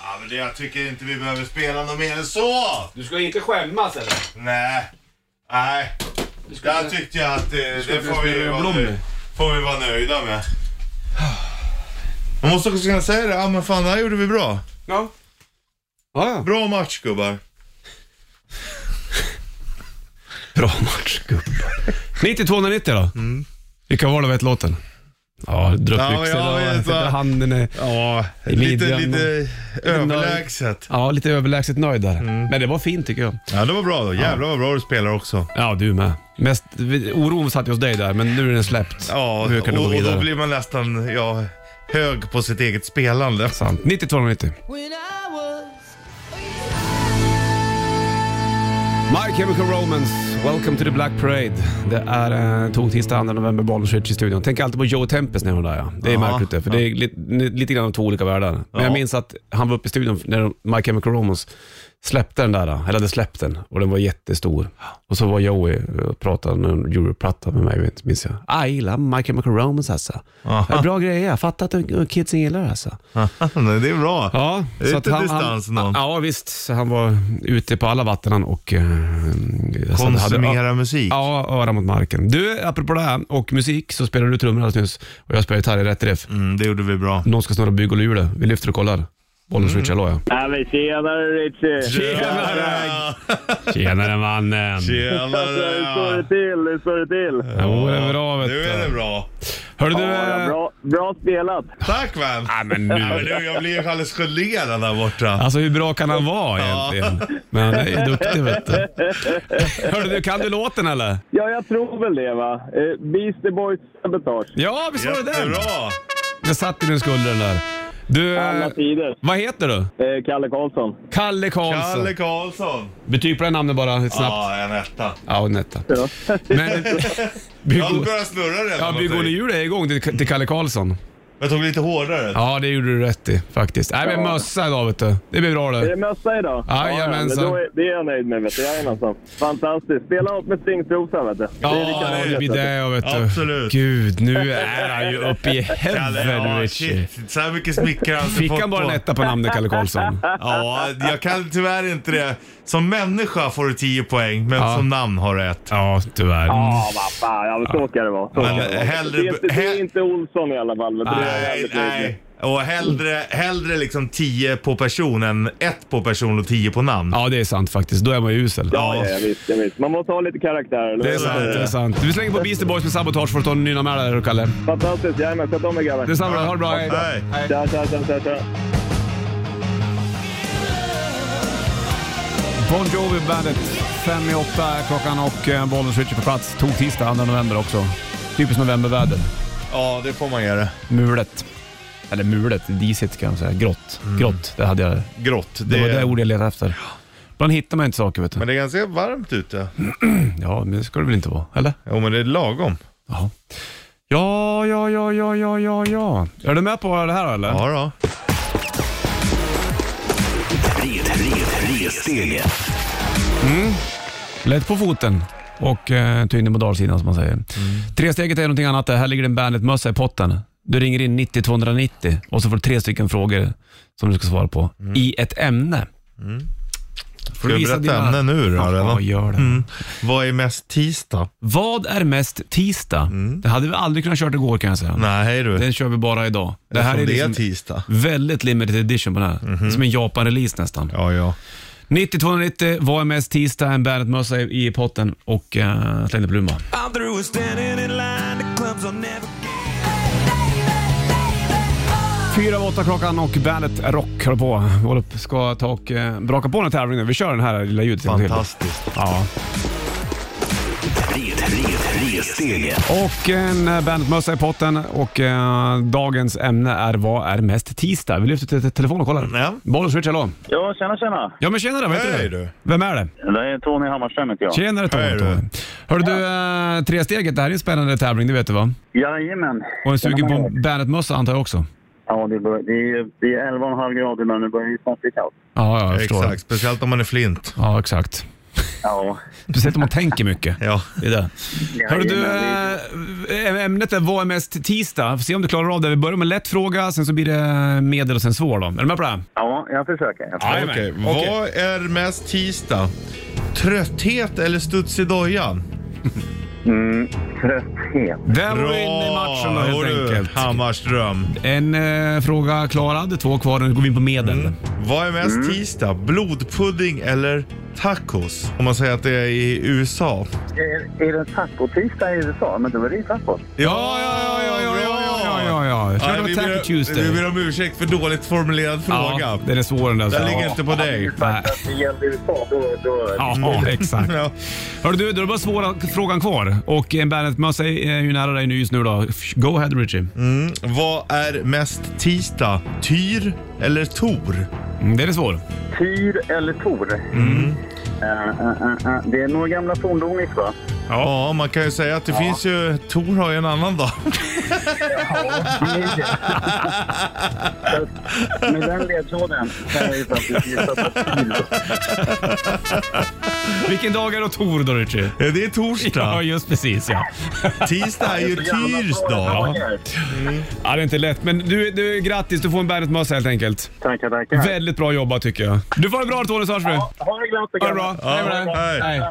S3: Ja, men det, jag tycker inte vi behöver spela något mer än så.
S2: Du ska inte skämmas eller?
S3: Nej. Nej. Där tyckte jag att eh, det
S2: inte
S3: får vi,
S2: spela
S3: vara
S2: Blom.
S3: nö- får vi vara nöjda med. Man måste också kunna säga det. Ja, men fan, det här gjorde vi bra.
S2: Ja. Ja, ja.
S3: Bra match, gubbar.
S2: Bra match gubbar. 9290 då. Vilka var det vet låten? Ja,
S3: Mm. Ja,
S2: druckbyxor
S3: ja, jag
S2: och
S3: vet
S2: sätta
S3: vad-
S2: handen i...
S3: Ja,
S2: I
S3: lite,
S2: midjan.
S3: lite överlägset.
S2: Ja, lite överlägset nöjd där.
S3: Mm.
S2: Men det var fint tycker jag.
S3: Ja, det var bra då. Jävlar vad bra du spelar också.
S2: Ja, du med. Mest, oron satt ju hos dig där, men nu är den släppt.
S3: Ja,
S2: nu kan du
S3: och,
S2: gå
S3: och
S2: vidare.
S3: då blir man nästan ja, hög på sitt eget spelande.
S2: Sant. 9290.
S5: When I was
S2: My Chemical Romance, Welcome to the Black Parade. Det är eh, tog tisdag 2 november, Bollnäs i studion. Tänk alltid på Joe Tempest när hon där ja. Det är
S3: Ja.
S2: märkligt det, för det är li, ni- lite grann av två olika världar. Men jag minns att han var uppe i studion när de- My Chemical Romance släppte den där, då, eller hade släppt den, och den var jättestor. Och så var Joey och pratade om en Europe-platta med mig, vet- minns jag. Ah, jag gillar My Chemical Romance alltså. Det är bra grejer, jag fattar att kidsen gillar det alltså.
S3: Nej, det är bra.
S2: Ja,
S3: Det är lite distans
S2: han,
S3: någon.
S2: Ja, visst. Så han var ute på alla vatten han och... Eh, så han
S3: Konsumera
S2: Hade,
S3: musik.
S2: ja, öra mot marken. Du, apropå det här och musik så spelar du trummor alldeles nyss och jag spelar gitarr i rätt riff.
S3: Mm, det gjorde vi bra.
S2: Någon ska snurra bygg och lure. Vi lyfter och kollar. Bollen switch,
S3: Mm.
S2: hallå ja.
S6: Ja, men tjenare Richie!
S3: Tjenare!
S2: Tjenare mannen!
S6: Alltså, hur står det
S3: Tjenare!
S6: till? Hur står det till?
S2: Jo, det är bra vet
S3: Nu är det
S2: du.
S3: bra.
S2: Hörru du...
S6: Ja,
S2: eh,
S6: bra, bra spelat!
S3: Tack man!
S2: Nej men
S3: Men
S2: nu.
S3: nu, jag blir ju alldeles gelerad där borta.
S2: Alltså hur bra kan han vara egentligen? Men han är ju duktig vet du. Hörru du, kan du låten eller?
S6: Ja, jag tror väl det va. Eh, Beastie Boys Sabotage.
S2: Ja, visst var det den?
S3: Jättebra!
S2: Det satt i din skulder den där. Du,
S6: Alla
S2: eh,
S6: tider.
S2: vad heter du?
S6: Eh, Kalle Karlsson.
S2: Kalle Karlsson.
S3: Kalle Karlsson.
S2: Betyg på det namnet bara, lite snabbt.
S3: Ja, en etta.
S2: Ja, och netta.
S6: Ja.
S2: Men,
S3: Jag hade
S2: Bygg-
S3: börjat snurra redan.
S2: ja,
S3: mot
S2: Bygg och
S3: dig.
S2: Njure är igång till, till Kalle Karlsson.
S3: Jag tog lite hårdare.
S2: Ja, det gjorde du rätt i faktiskt. Nej, men
S6: Ja.
S2: mössa idag vet du. Det blir bra
S6: Är det
S2: det.
S6: mössa idag?
S2: Jajamensan.
S6: men då är, det är jag nöjd med vet du. Jajamensan. Fantastiskt. Spela upp med stingstrosan vet du.
S2: Ja,
S6: lika bra,
S2: det blir
S6: vet du.
S2: det ja, vet du.
S3: Absolut.
S2: Gud, nu är han ju uppe i
S3: Kalle,
S2: helvete
S3: ja,
S2: Richie.
S3: shit. Så här mycket smicker har jag inte
S2: Fick
S3: fått
S2: han bara en
S3: på.
S2: etta på namnet Kalle Karlsson?
S3: Ja, jag kan tyvärr inte det. Som människa får du 10 poäng, men
S2: Ja.
S3: som namn har du ett.
S2: Ja, tyvärr. Mm.
S6: Ja, vad fan. Ja, men så ska det vara. Så
S3: Men
S6: ska det vara.
S3: hellre-
S6: det, är inte, det är
S3: hell-
S6: inte Olsson i alla fall. Vet du. Det är jag
S3: Nej,
S6: jävligt nöjd med.
S3: nej. Och hellre, hellre liksom 10 på person än 1 på person och 10 på namn.
S2: Ja, det är sant faktiskt. Då är man ju usel.
S6: Ja, ja, ja, visst, ja, visst. Man måste ha lite karaktär. eller
S2: Det är
S6: hur?
S2: sant, det är sant. Vi slänger på Beastie Boys med Sabotage för att ta en nynna med där, Kalle.
S6: Fantastiskt. Jajamän, sköt om er grabbar.
S2: Detsamma, ha det bra. Hej.
S3: Nej.
S6: Tja, tja, tja, tja, tja.
S2: Bon Jovi Bandet. Fem i åtta är klockan och eh, bollen switcher på plats. Tog tisdag, 2 november också. Typiskt novemberväder.
S3: Ja, det får man ge det.
S2: Mulet. Eller mulet, disigt kan man säga. Grått. Grått, det hade jag.
S3: Grått.
S2: Det var det ordet jag letade efter. Ibland hittar man inte saker vet du.
S3: men det är ganska varmt ute.
S2: Ja, men det ska det väl inte vara? Eller?
S3: Jo, men det är lagom.
S2: Jaha. Ja, ja, ja, ja, ja, ja, ja. Är du med på det här eller?
S3: Ja, då.
S1: Red, red, ressteget.
S2: Lätt på foten och eh, tyngden på dalsidan som man
S3: Mm.
S2: säger. Tresteget är någonting annat. Där. Här ligger en Bandit-mössa i potten. Du ringer in 90 290 och så får du tre stycken frågor som du ska svara på i ett ämne. Får
S3: Mm. Ska jag berätta ämnen nu då
S2: Ja,
S3: redan?
S2: gör det.
S3: Mm. Vad är mest tisdag?
S2: Vad är mest tisdag? Det hade vi aldrig kunnat kört igår kan jag säga.
S3: Mm. Nej du.
S2: Den kör vi bara idag. Det här
S3: Som
S2: är, liksom
S3: tisdag. Mhm.
S2: väldigt limited edition på den här. Som en Japan-release nästan.
S3: Ja, ja.
S2: 90-290, vad är mest tisdag? En Bandit-mössa i, i potten och eh, slängde plumma. Fyra av åtta klockan och bandet Rock håller på. Vi håller på, ska ta och eh, braka på en tävling nu. Vi kör den här lilla ljudet en gång till.
S3: Fantastiskt.
S2: Ja.
S1: Red, red, ressteget.
S2: Och en eh, bandetmössa i potten och eh, dagens ämne är vad är mest tisdag? Vi lyfter till till telefonen och kollar.
S3: Ja.
S2: Bollens Rich, hallå.
S7: Ja, tjena tjena.
S2: Ja men tjenare, vad heter
S3: Hej,
S2: du?
S3: du.
S2: Vem är det?
S7: Det är Tony Hammarström heter jag.
S2: Tjenare Tony.
S3: Hej, du.
S2: Tony. Hörru du, eh, tresteget, det här är en spännande tävling, det vet du va?
S7: Jajamän.
S2: Och en sugen på
S7: Tjena,
S2: en bandetmössa antar jag också.
S7: Ja, det, bör, det, är, det är 11,5 grader men nu börjar det snart bli kallt.
S2: Ja, ja jag förstår.
S3: Exakt. Speciellt om man är flint.
S2: Ja, exakt.
S7: Ja.
S2: Speciellt om man tänker mycket.
S3: Ja.
S2: Det är det. Hörru du,
S7: jajamän, det-
S2: eh, ämnet är vad är mest tisdag? Får se om du klarar av det. Vi börjar med en lätt fråga, sen så blir det medel och sen svår då. Är du med på det? här?
S7: Ja, jag försöker. Jag försöker.
S2: Jajamän.
S3: Okej,
S2: Okej.
S3: vad är mest tisdag? Trötthet eller studs i dojan?
S7: Mm, trötthet.
S2: Där var du inne i matchen då, helt
S3: Jo, du,
S2: enkelt.
S3: Hammarström.
S2: En eh, fråga klarad, två kvar. Nu går vi in på medel.
S3: Mm. Vad är mest tisdag? Blodpudding eller tacos? Om man säger att det är i USA.
S7: Är, är det tacotisdag i USA? Men då är det ju tacos.
S2: Ja, ja, ja, ja, ja, ja, ja, ja, ja. ja.
S3: Nej,
S2: Körde
S3: vi
S2: med
S3: ber-
S2: Tacky Tuesday.
S3: Vi ber om ursäkt för dåligt formulerad
S2: ja,
S3: fråga.
S2: den är svår den där.
S3: Den
S2: Ja.
S3: ligger inte på dig.
S2: Nej.
S7: Att det gällde USA, då... då
S2: Ja, exakt.
S3: Mm. Ja.
S2: Hörru du, då är det bara svåra frågan kvar. Och en Bandet-mössa är ju nära dig nu just nu då. Go ahead Richie.
S3: Mm. Vad är mest tisdag? Tyr eller Tor?
S2: Mm, det är det svår.
S7: Tyr eller Tor? Eh, eh, eh, eh. Det är några gamla forndoniskt, va?
S3: Ja, man kan ju säga att det finns ju... Tor har ju en annan dag.
S7: Med den ledtråden kan jag ju faktiskt gissa på Tyr.
S2: Vilken dag är då Tor då Richie?
S3: Ja, Det är
S2: Ja,
S3: torsdag.
S2: just precis ja.
S3: Tisdag är ju Tyrs dag.
S7: Ja.
S2: ja. Det är inte lätt, men du, du grattis. Du får en Bandet-mössa helt enkelt.
S7: Tackar, tackar.
S2: Väldigt bra jobbat tycker jag. Du får det bra Tony, så hörs vi. Ha
S7: Ha det glatt och
S2: det bra.
S7: gammalt.
S2: Hej med dig.
S3: hej.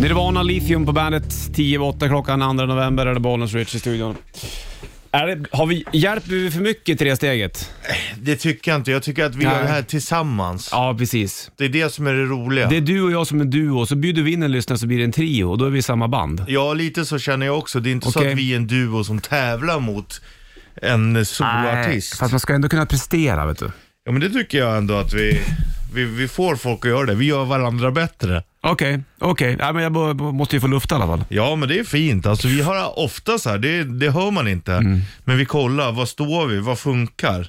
S2: Nirvana Lithium på bandet. 10 över 8 klockan 2 november är det Bollnäs Rich i studion. Är det, har vi, hjälper vi för mycket till det steget?
S3: Det tycker jag inte. Jag tycker att vi
S2: Nej.
S3: gör det här tillsammans.
S2: Ja, precis.
S3: Det är det som är det roliga.
S2: Det är du och jag som en duo, så bjuder vi in en lyssnare så blir det en trio och då är vi i samma band.
S3: Ja, lite så känner jag också. Det är inte så
S2: Okej.
S3: att vi är en duo som tävlar mot en soloartist.
S2: Fast man ska ändå kunna prestera, vet du.
S3: Ja, men det tycker jag ändå att vi, vi, vi får folk att göra det. Vi gör varandra bättre.
S2: Okej, okej. Nej, men jag b- b- måste ju få luft i alla fall.
S3: Ja, men det är fint. Alltså, vi har ofta så här, det, det hör man inte.
S2: Mm.
S3: Men vi kollar, vad står vi? Vad funkar?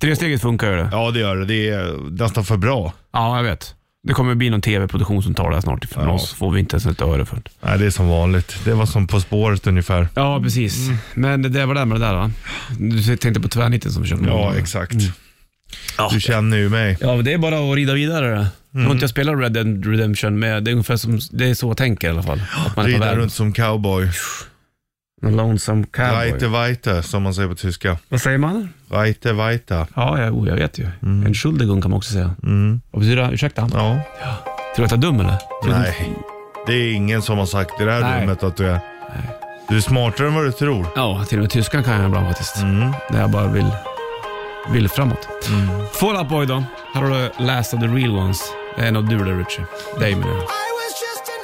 S2: Tresteget funkar ju det.
S3: Ja, det gör det. Det är nästan för bra.
S2: Ja, jag vet. Det kommer bli någon tv-produktion som tar det här snart ifrån oss. Får vi inte ens ett öre för det.
S3: Nej, det är som vanligt. Det var som På spåret ungefär.
S2: Ja, precis. Mm. Men det där var det med det där va? Du tänkte på tvärnitten som vi körde.
S3: Ja, exakt. Du känner ju mig.
S2: Ja, men det är bara att rida vidare. Mm. Jag har inte jag spelat Red Dead Redemption med. Det är ungefär som, det är så jag tänker i alla fall. Att man är på
S3: Rida
S2: väg.
S3: runt som cowboy.
S2: En Lonesome cowboy.
S3: Reite weite, som man säger på tyska.
S2: Vad säger man?
S3: Reite weite.
S2: Ja, jag, oh, jag vet ju.
S8: Mm.
S2: En Schuldigung kan man också säga.
S3: Mm.
S2: Vad betyder det? Ursäkta?
S3: Ja.
S2: Tror du att jag är dum eller? Tror du-
S3: Nej, det är ingen som har sagt i det här
S2: Nej.
S3: rummet att du är... Du är smartare än vad du tror.
S2: Ja, till och med tyskan kan jag ibland faktiskt.
S8: Mm.
S2: När jag bara vill, vill framåt. Fall Out Boy då. Här har du Last of the Real Ones. Det är en av du där Richie. Dig menar jag.
S4: I was just an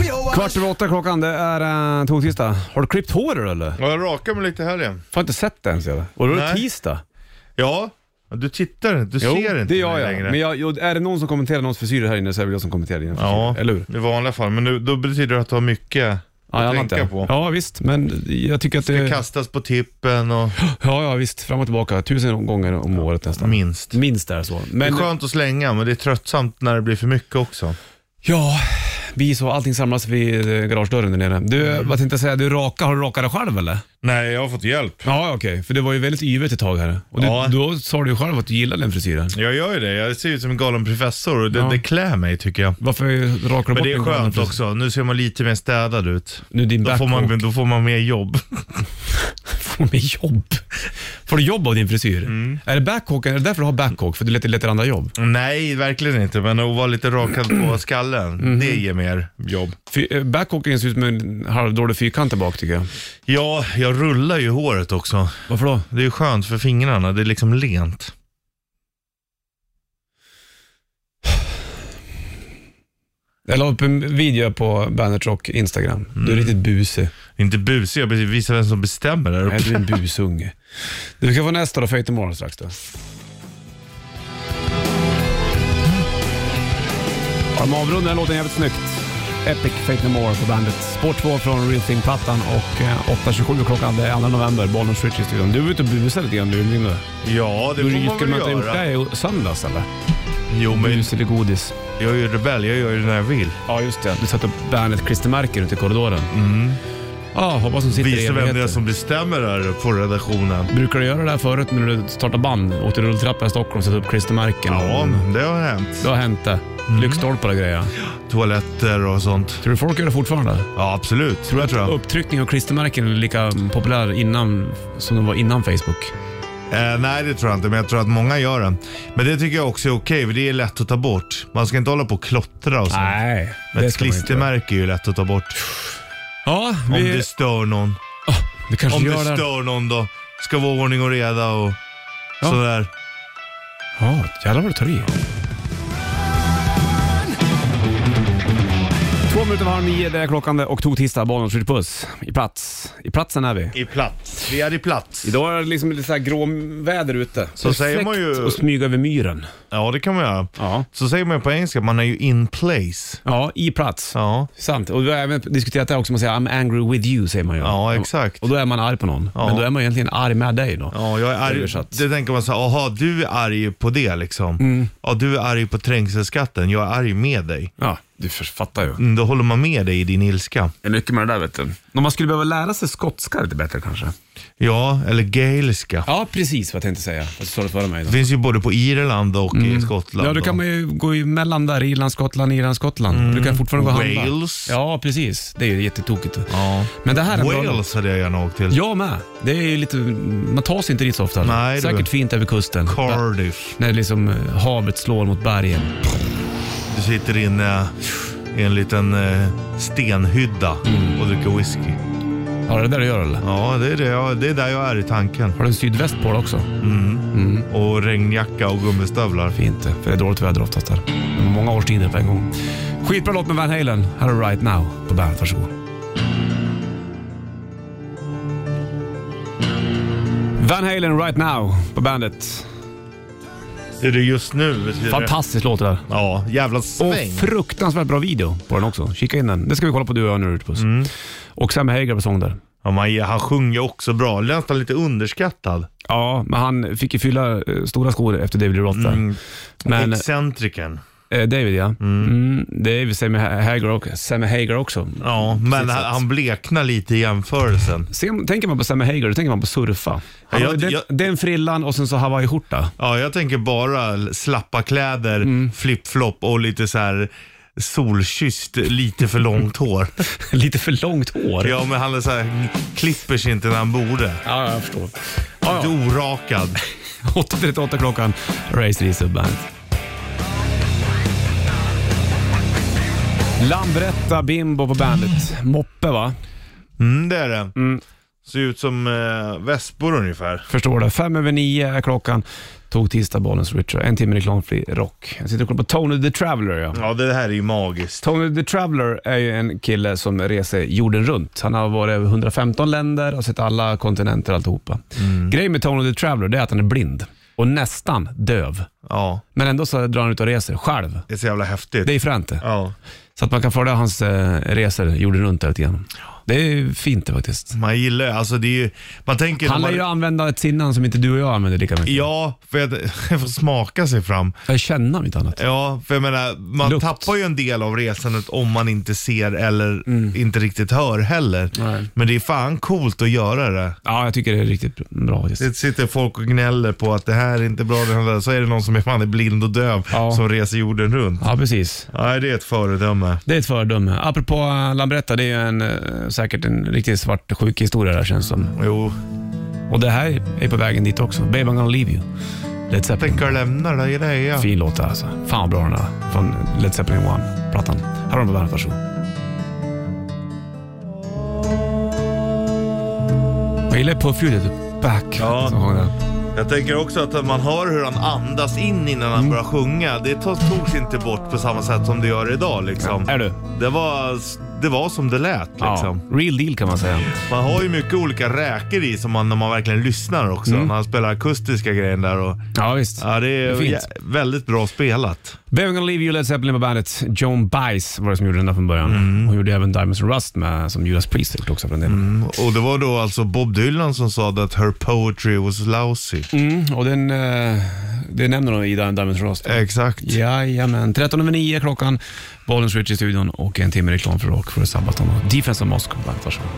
S4: only.
S8: Kvart över åtta klockan, det är uh, tog-tisdag. Har du klippt håret eller?
S3: Ja, jag rakar mig lite i helgen.
S8: Får inte sett det ens eller? Och då är det
S3: Nej.
S8: tisdag.
S3: Ja, du tittar inte. Du ser inte
S8: det gör
S3: mig
S8: jag.
S3: längre.
S8: Men jag, jag, är det någon som kommenterar någons frisyr här inne så är det väl jag som kommenterar dina frisyrer,
S3: Ja,
S8: eller hur?
S3: i vanliga fall. Men nu, då betyder det att du har mycket
S8: Ja, jag
S3: att
S8: antar
S3: tänka på.
S8: det.
S2: Ja, visst. Men jag tycker att
S3: Det
S2: det...
S3: kastas på tippen och
S2: Ja, ja, visst. Fram och tillbaka. Tusen gånger om året nästan.
S3: minst.
S8: Minst är det så.
S3: Det är
S8: Men
S3: skönt att slänga, men det är tröttsamt när det blir för mycket också.
S2: ja, vi så allting samlas vid eh, garagedörren där nere. Du, vad tänkte jag säga? Du rakar. Har du rakat dig själv eller?
S3: Nej, jag har fått hjälp.
S2: Ja, okej. För det var ju väldigt yvigt ett tag här. Och du,
S3: Ja.
S2: då sa du ju själv att du gillade den frisyren.
S3: Jag gör ju det. Jag ser ut som en galen professor och det,
S2: Ja.
S3: det klär mig tycker jag.
S2: Varför rakar du
S3: Men
S2: bort
S3: det
S2: den
S3: är
S2: gamla
S3: skönt
S2: frisyren?
S3: också. Nu ser man lite mer städad ut.
S2: Nu din
S3: Då får, man, då får man mer jobb.
S2: får med jobb. Får du jobb av din frisyr? Är det backhawk? Är det därför du har backhawk? För du letar, letar andra jobb?
S3: Nej, verkligen inte. Men att vara lite rakad
S2: Mm.
S3: på skallen,
S2: Mm-hmm.
S3: det ger mer jobb.
S2: Fy- eh, Backhawken ser ut som en halvdålig fyrkant där bak tycker jag.
S3: Ja, jag rullar ju håret också.
S2: Varför då?
S3: Det är skönt för fingrarna. Det är liksom lent.
S2: Jag la upp en video på Bandit Rock Instagram. Du är riktigt busig.
S3: Inte busig, jag visar vem som bestämmer där
S2: Nej,
S3: uppe.
S2: du är en busunge. Du ska få nästa då, Fate imorgon strax då. Ja, de avrundar den här låten jävligt snyggt. Epic Fate No More på bandet. Sport 2 från Real Thing-plattan och eh, 8.27 klockan, det är 2 november, Bollen och Switch i studion. Du var ute och busade lite grann du Linda.
S3: Ja, det
S2: Du
S3: får man
S2: skulle man
S3: väl
S2: inte ha gjort
S3: göra.
S2: det i söndags eller?
S3: Jo, men
S2: Bus eller godis?
S3: jag är ju rebell. Jag gör ju det när jag vill.
S2: Ja, just det. Du satte upp bandet klistermärken ute i korridoren. Ja, hoppas hon sitter i
S3: Visa Mm. vem det är
S2: evigheter.
S3: som bestämmer där på redaktionen.
S2: Brukar du göra det här förut när du startar band? Åkte rulltrappan i Stockholm och satte upp klistermärken? Mm.
S3: Ja, Mm. det har hänt.
S2: Det har hänt det. Lyktstolpar och grejer.
S3: Toaletter och sånt.
S2: Tror du folk gör det fortfarande?
S3: Ja, absolut. Tror jag tror jag.
S2: Upptryckning av klistermärken är lika populär innan som de var innan Facebook.
S3: Eh, nej, det tror jag inte, men jag tror att många gör det. Men det tycker jag också är okej, för det är lätt att ta bort. Man ska inte hålla på och klottra och sånt.
S2: Nej,
S3: men
S2: det
S3: ett
S2: ska man inte. göra.
S3: klistermärke är ju lätt att ta bort.
S2: Ja,
S3: Om
S2: vi,
S3: det stör någon.
S2: vi kanske
S3: Om
S2: gör
S3: det
S2: det.
S3: stör någon då. Ska vara ordning och reda och
S2: Ja.
S3: sådär.
S2: Ja, jävlar vad du tar i. Två minuter var nio, det är klockan och tog tisdag, barnen skjuter puss. I plats. I platsen är vi.
S3: I plats. Vi är i plats.
S8: idag är det liksom lite så här gråväder ute.
S3: Så säger man ju...
S2: Och smyga över myren.
S3: Ja, det kan man göra.
S2: Ja.
S3: Så säger man ju på engelska, man är ju in place.
S2: Ja, i plats.
S3: Ja,
S2: Sant. Och vi har även diskuterat det här också, man säger I'm angry with you, säger man ju.
S3: ja exakt.
S2: Och då är man arg på någon.
S3: Ja.
S2: Men då är man egentligen arg med dig då.
S3: Ja, jag är arg.
S2: Översatt. Mm.
S3: Det tänker man så här, aha, du är arg på det liksom. Ja, du är arg på trängselskatten, jag är arg med dig.
S2: Ja, du fattar ju.
S3: Mm, då håller man med dig i din ilska.
S2: Det är mycket med det där vet du. Om man skulle behöva lära sig skotska lite bättre kanske.
S3: Ja, eller gaelska.
S2: Ja, precis vad jag tänkte säga. Fast Du sa det före mig. Då.
S3: Det finns ju både på Irland och i
S2: Mm.
S3: Skottland.
S2: Ja, då kan man ju gå emellan där. Irland, Skottland, Irland, Skottland. Du kan fortfarande gå och handla.
S3: Mm. Wales.
S2: Ja, precis. Det är ju jättetokigt.
S3: Ja.
S2: Men det här är en bra...
S3: Wales hade jag gärna åkt till.
S2: Jag med. Det är ju lite... Man tar sig inte dit så ofta.
S3: Nej, du.
S2: Säkert fint över kusten.
S3: Cardiff.
S2: När liksom eh, havet slår mot bergen.
S3: Du sitter inne i en liten eh, stenhydda
S2: Mm.
S3: och dricker whisky.
S2: Har det där att göra eller?
S3: Ja, det är, det, jag, det är där jag är i tanken.
S2: Har du en sydväst på dig också?
S3: Och regnjacka och gummistövlar.
S2: Fint det, för det är dåligt väder oftast där. Många årstider på en gång. Skitbra låt med Van Halen. Här är Right Now på bandet. Varsågod. Van Halen Right Now på bandet.
S3: Det är det just nu. betyder det.
S2: Fantastisk låt det där.
S3: Ja, jävla
S2: Och
S3: sväng.
S2: fruktansvärt bra video på den också. Kika in den. Det ska vi kolla på du och jag nu Rutpuss. Och Sam Hagar på sång där.
S3: Ja, man, han sjunger också bra. Nästan lite underskattad.
S2: Ja, men han fick ju fylla eh, stora skor efter David Lee Roth där. Men eh,
S3: Excentriken.
S2: David ja. Mm. David Sammy Ha- Hagar och Sammy Hagar också.
S3: Ja, men han, han bleknar lite i jämförelsen.
S2: Sen, tänker man på Sammy Hagar, då tänker man på surfa. Han
S3: Ja,
S2: har ju
S3: jag-
S2: den, den frillan och sen så hawaiiskjorta.
S3: Ja, jag tänker bara slappa kläder,
S2: Mm.
S3: flip-flop och lite så här solkysst, lite för långt hår.
S2: Lite för långt hår.
S3: Ja, men han är så här, klipper sig inte när han borde.
S2: Ja, jag förstår. Ja,
S3: Lite
S2: ja.
S3: orakad.
S2: 8.38 klockan, Race Reese Band. Lambretta Bimbo på bandet. Moppe va?
S3: Mm, det är det. Ser ut som eh, vespor ungefär.
S2: Förstår det. Fem över nio är klockan. Tog tisdag Bollnäs Richard. En timme reklamfri rock. Jag sitter och kollar på Tony the Traveller. Ja.
S3: Ja, det här är ju magiskt.
S2: Tony the Traveller är ju en kille som reser jorden runt. Han har varit över 115 länder och sett alla kontinenter och alltihopa. Grejen med Tony the Traveller det är att han är blind och nästan döv.
S3: Ja,
S2: Men ändå så drar han ut och reser själv.
S3: det är så jävla häftigt.
S2: Det är fränt det.
S3: Ja,
S2: Så att man kan följa hans eh, resor jorden runt där lite grann. Det är ju fint det faktiskt.
S3: man gillar ju- alltså det är ju, man tänker...
S2: Han lär
S3: man,
S2: ju använda ett sinne som inte du och jag använder lika mycket.
S3: Ja, för jag, jag får smaka sig fram.
S2: Jag känner om inte annat.
S3: Ja, för jag menar, man
S2: Lukt.
S3: tappar ju en del av resandet om man inte ser eller inte riktigt hör heller.
S2: Mm. Nej.
S3: Men det är fan coolt att göra det.
S2: Ja, jag tycker det är riktigt bra faktiskt.
S3: Det sitter folk och gnäller på att det här är inte bra, det här, så är det någon som är fan är blind och döv
S2: Ja.
S3: som reser jorden runt.
S2: Ja, precis.
S3: Nej, det är ett föredöme.
S2: Det är ett föredöme. Apropå eh, Lambretta, det är ju en, eh, säkert en riktigt svart sjuk historia där känns som.
S3: Jo,
S2: Och det här är på vägen dit också. Babe I'm gonna leave you. Led Zeppelin.
S3: tänker lämna dig det. Ja.
S2: Fin låt alltså. Fan vad bra den där. Från Led Zeppelin 1-plattan. Här har de på bandet, varsågod. Jag gillar puffljudet. Back.
S3: Ja.
S2: Som sjöng den.
S3: Jag tänker också att man hör hur han andas in innan
S2: Mm.
S3: han börjar sjunga. Det to- togs inte bort på samma sätt som det gör idag liksom.
S2: Är du?
S3: Det var, det var som det lät liksom.
S2: Ja. Real deal kan man säga.
S3: Man har ju mycket olika räker i som man, när man verkligen lyssnar också.
S2: Mm.
S3: När han spelar akustiska grejer där. Och,
S2: Ja, visst.
S3: ja, det är
S2: Det finns.
S3: jä- väldigt bra spelat.
S2: Baby gonna leave you, Led Zeppelin på bandet. Joan Baez var det som gjorde den där från början. Hon gjorde även Diamonds and Rust med, som Judas Priest har gjort också för en del.
S3: Och det var då alltså Bob Dylan som sa att her poetry was lousy.
S2: Mm. Och den, eh, det nämner de i Di- Diamonds and Rust.
S3: Exakt.
S2: Jajamän. 13 över 9 klockan. Bollens Rich i studion och en timme reklam för rock för Sabaton och Defense of Moscow på bandet. Varsågod.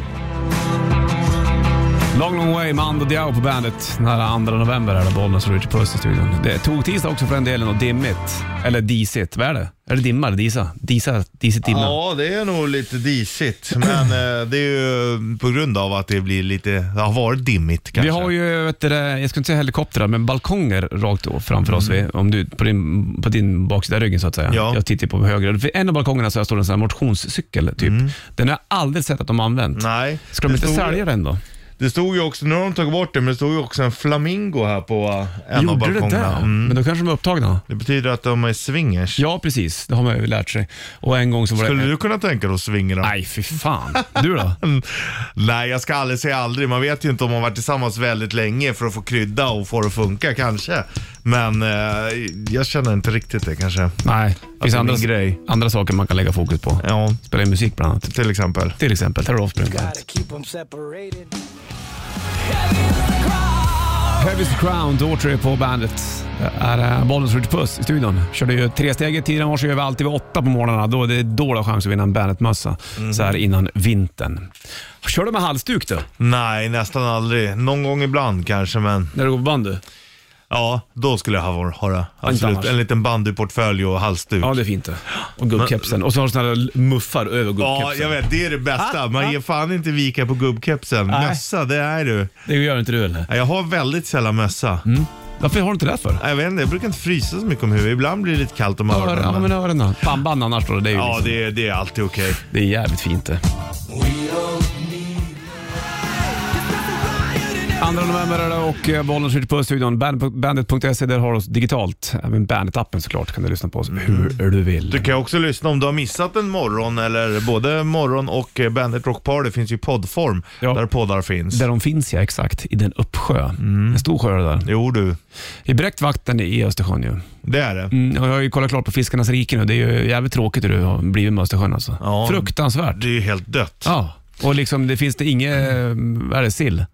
S2: Long Long Way med Ando Diao på bandet. Den här 2 november är det Bollnäs och Richard Puss i studion. Det tog tisdag också för den delen och dimmigt. Eller disigt. Vad är det? Är det dimma eller disa? Disa? Disigt dimma?
S3: Ja, det är nog lite disigt. Men eh, det är ju på grund av att det blir lite, det har varit dimmigt kanske.
S2: Vi har ju, vet du, det, jag skulle inte säga helikoptrar, men balkonger rakt då framför oss. vid- Om du, på, din, på din baksida av ryggen så att säga.
S3: Mm. Ja.
S2: Jag tittar på höger. Vid En av balkongerna så här står det en sån här motionscykel typ. Den har jag aldrig sett att de har använt.
S3: Mm. Nej.
S2: Ska de
S3: det
S2: inte
S3: stod-
S2: sälja den då?
S3: Det stod ju också, nu har de tagit bort det, men det stod ju också en flamingo här på eh, en av
S2: Gjorde det
S3: balkongerna.
S2: där?
S3: Det, mm.
S2: Men då kanske de är upptagna.
S3: det betyder att de är swingers.
S2: Ja, precis. Det har man ju lärt sig. Och en gång så var
S3: Skulle
S2: det...
S3: du kunna tänka dig att swinga dem? Mm.
S2: Nej, fy fan. Du då?
S3: Nej, jag ska aldrig säga aldrig. Man vet ju inte om man varit tillsammans väldigt länge för att få krydda och få det att funka kanske. Men eh, jag känner inte riktigt det kanske.
S2: Nej, det finns
S3: det är
S2: andra,
S3: Alltså, min grej.
S2: andra saker man kan lägga fokus på.
S3: Ja,
S2: Spela in musik bland annat.
S3: till exempel.
S2: Till exempel, Terror Offspring. Heavy's Crown, Daughtry på bandet. Det är eh, Bollnäs Ritchie Puss i studion. Körde ju tresteget tidigare i morse, gör vi alltid vid åtta på morgnarna. Då är det dålig chans att vinna en Bandet-mössa
S3: Mhm.
S2: så här innan vintern. Kör du med halsduk
S3: Mm.
S2: då?
S3: Nej, nästan aldrig. Någon gång ibland kanske, men
S2: När du går på bandy?
S3: ja, då skulle jag ha, ha det.
S2: annars.
S3: Absolut. En liten bandyportfölj och halsduk.
S2: Ja, det är fint det. Och gubbkepsen. Och så har du sådana där muffar över
S3: Ja,
S2: gubbkepsen. Ah,
S3: jag vet. Det är det bästa. Man ger fan inte vika på gubbkepsen.
S2: Nej.
S3: Mössa, det är du.
S2: Det gör inte du eller?
S3: Jag har väldigt sällan mössa.
S2: Varför har du inte det för?
S3: Jag vet inte, jag brukar inte frysa så mycket om huvudet. Ibland blir det lite kallt om öronen.
S2: Ja, men öronen då. Pannband annars då. Det är ju
S3: Ja,
S2: liksom-
S3: det är, det är alltid okej.
S2: Det är jävligt fint det. 2 november är det och eh, bollen skjuter på studion. Band- Bandet.se, E, där har du oss digitalt. Även Bandet-appen såklart kan du lyssna på oss hur du
S3: Mm. Du
S2: vill.
S3: kan också lyssna om du har missat en morgon, eller både morgon och eh, Bandit Rock Party finns ju i poddform,
S2: Ja.
S3: där poddar finns.
S2: Där de finns ja, exakt. I den uppsjö.
S3: Mm.
S2: En stor sjö är det där.
S3: Jo du,
S2: I bräckt vatten i Östersjön ju.
S3: det är det.
S2: Mm, och jag har ju kollat klart på Fiskarnas rike nu. Det är ju jävligt tråkigt hur det har blivit med Östersjön alltså.
S3: Ja.
S2: Fruktansvärt.
S3: Det är ju helt dött.
S2: Ja. Och liksom, det finns det inget, eh, vad är det, sill?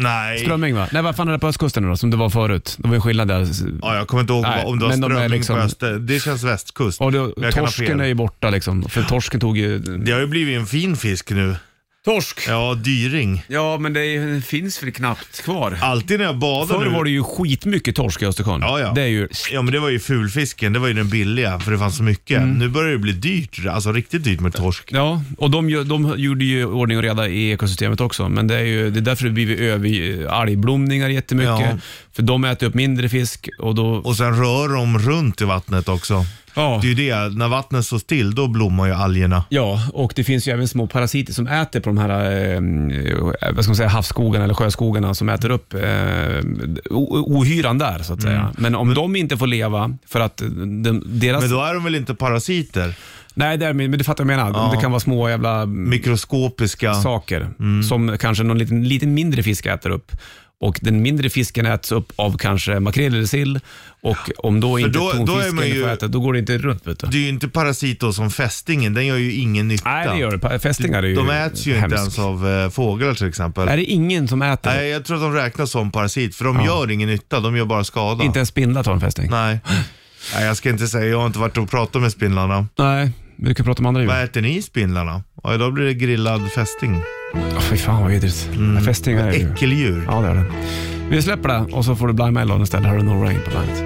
S3: Nej,
S2: Strömming va? Nej, vad fan är det på östkusten nu då, som det var förut? Det var ju skillnad där.
S3: ja, jag kommer inte ihåg
S2: Nej,
S3: om det var
S2: men de är
S3: strömming
S2: liksom-
S3: på öster. Det känns västkust.
S2: Och
S3: Men
S2: då,
S3: jag kan ha
S2: torsken
S3: fel.
S2: är ju borta liksom, för torsken tog ju...
S3: Det har ju blivit en fin fisk nu.
S2: Torsk! Ja,
S3: Ja, dyring.
S2: men det finns väl knappt kvar.
S3: Alltid när jag badar
S2: Förr
S3: nu.
S2: var det ju skitmycket torsk i Östersjön.
S3: Ja, ja.
S2: Det är ju...
S3: Ja men det var ju fulfisken, det var ju den billiga för det fanns så mycket.
S2: Mm.
S3: Nu börjar det bli dyrt, alltså riktigt dyrt med torsk.
S2: Ja, och de, gör- de gjorde ju ordning och reda i ekosystemet också, men det är ju det är därför det blivit över algblomningar jättemycket.
S3: Ja.
S2: För de äter upp mindre fisk och då...
S3: Och sen rör de runt i vattnet också.
S2: Ja.
S3: Det är ju det, när vattnet står still då blommar ju algerna.
S2: Ja, och det finns ju även små parasiter som äter på de här eh, vad ska man säga, havsskogarna eller sjöskogarna som äter upp eh, o- ohyran där så att säga. Men om de inte får leva för att eh, de, deras...
S3: Mm. Men då är de väl inte parasiter?
S2: Nej, det är, men du fattar vad jag menar. Det kan vara små jävla
S3: Mikroskopiska.
S2: saker
S3: Mm.
S2: som kanske någon liten, liten mindre fisk äter upp. Och den mindre fisken äts upp av kanske makrill eller sill. Och om då inte
S3: då- då är
S2: tonfisken
S3: man ju-
S2: får äta, då går det inte runt. Vet du.
S3: Det är ju inte parasit då som fästingen, den gör ju ingen nytta.
S2: Nej, det gör det. Pa- Fästingar är ju
S3: De äts ju inte
S2: hemskt.
S3: ens av eh, fåglar till exempel.
S2: Är det ingen som äter?
S3: Nej, jag tror att de räknas som parasit, för de gör ingen nytta, de gör bara skada.
S2: Inte ens spindlar tar en fästing?
S3: Nej. Nej, jag ska inte säga, jag har inte varit och pratat med spindlarna.
S2: Nej, vi kan prata om andra djur.
S3: Vad äter ni spindlarna? Ja, idag blir det grillad fästing.
S2: Åh, fy fan vad vidrigt. Mm. Fästingar är det ju.
S3: Äckeldjur.
S2: Ja, det är det. Vi släpper det och så får du Blind Melon istället. Här är No Rain på bandet.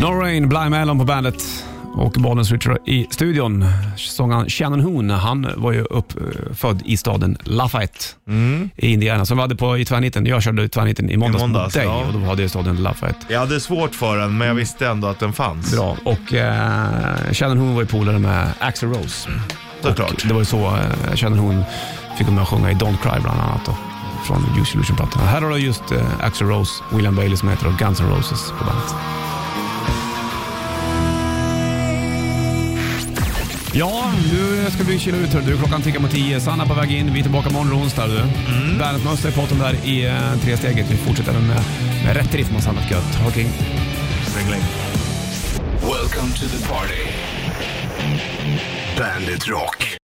S2: No Rain, Blind Melon på bandet och Bollens Richard i studion. Sångaren Shannon Hoon, han var ju uppfödd i staden Lafayette i Indiana, som vi hade på i tvärnitten. Jag körde tvärnitten i måndags,
S3: Mm. I
S2: mot
S3: måndags,
S2: dig
S3: ja.
S2: och då hade jag staden Lafayette.
S3: Jag hade svårt för den, men jag visste ändå att den fanns.
S2: Bra. Och eh, Shannon Hoon var ju polare med Axl Rose.
S3: Såklart.
S2: Det var ju så eh, Shannon Hoon fick med att sjunga i Don't Cry bland annat då, från Use Illusion-plattan. Här har du just eh, Axl Rose, William Bailey som heter då Guns N' Roses på bandet. Ja, nu ska vi chilla ut. hörru Du, klockan tickar mot tio. Sanna på väg in. Vi är tillbaka imorgon onsdag. Du. Mm. Bandetmössa i potten där i eh, tre steget. Vi fortsätter även med, med rätt riff mot annat gött. Ha kring.
S1: Welcome to the party. Bandit Rock.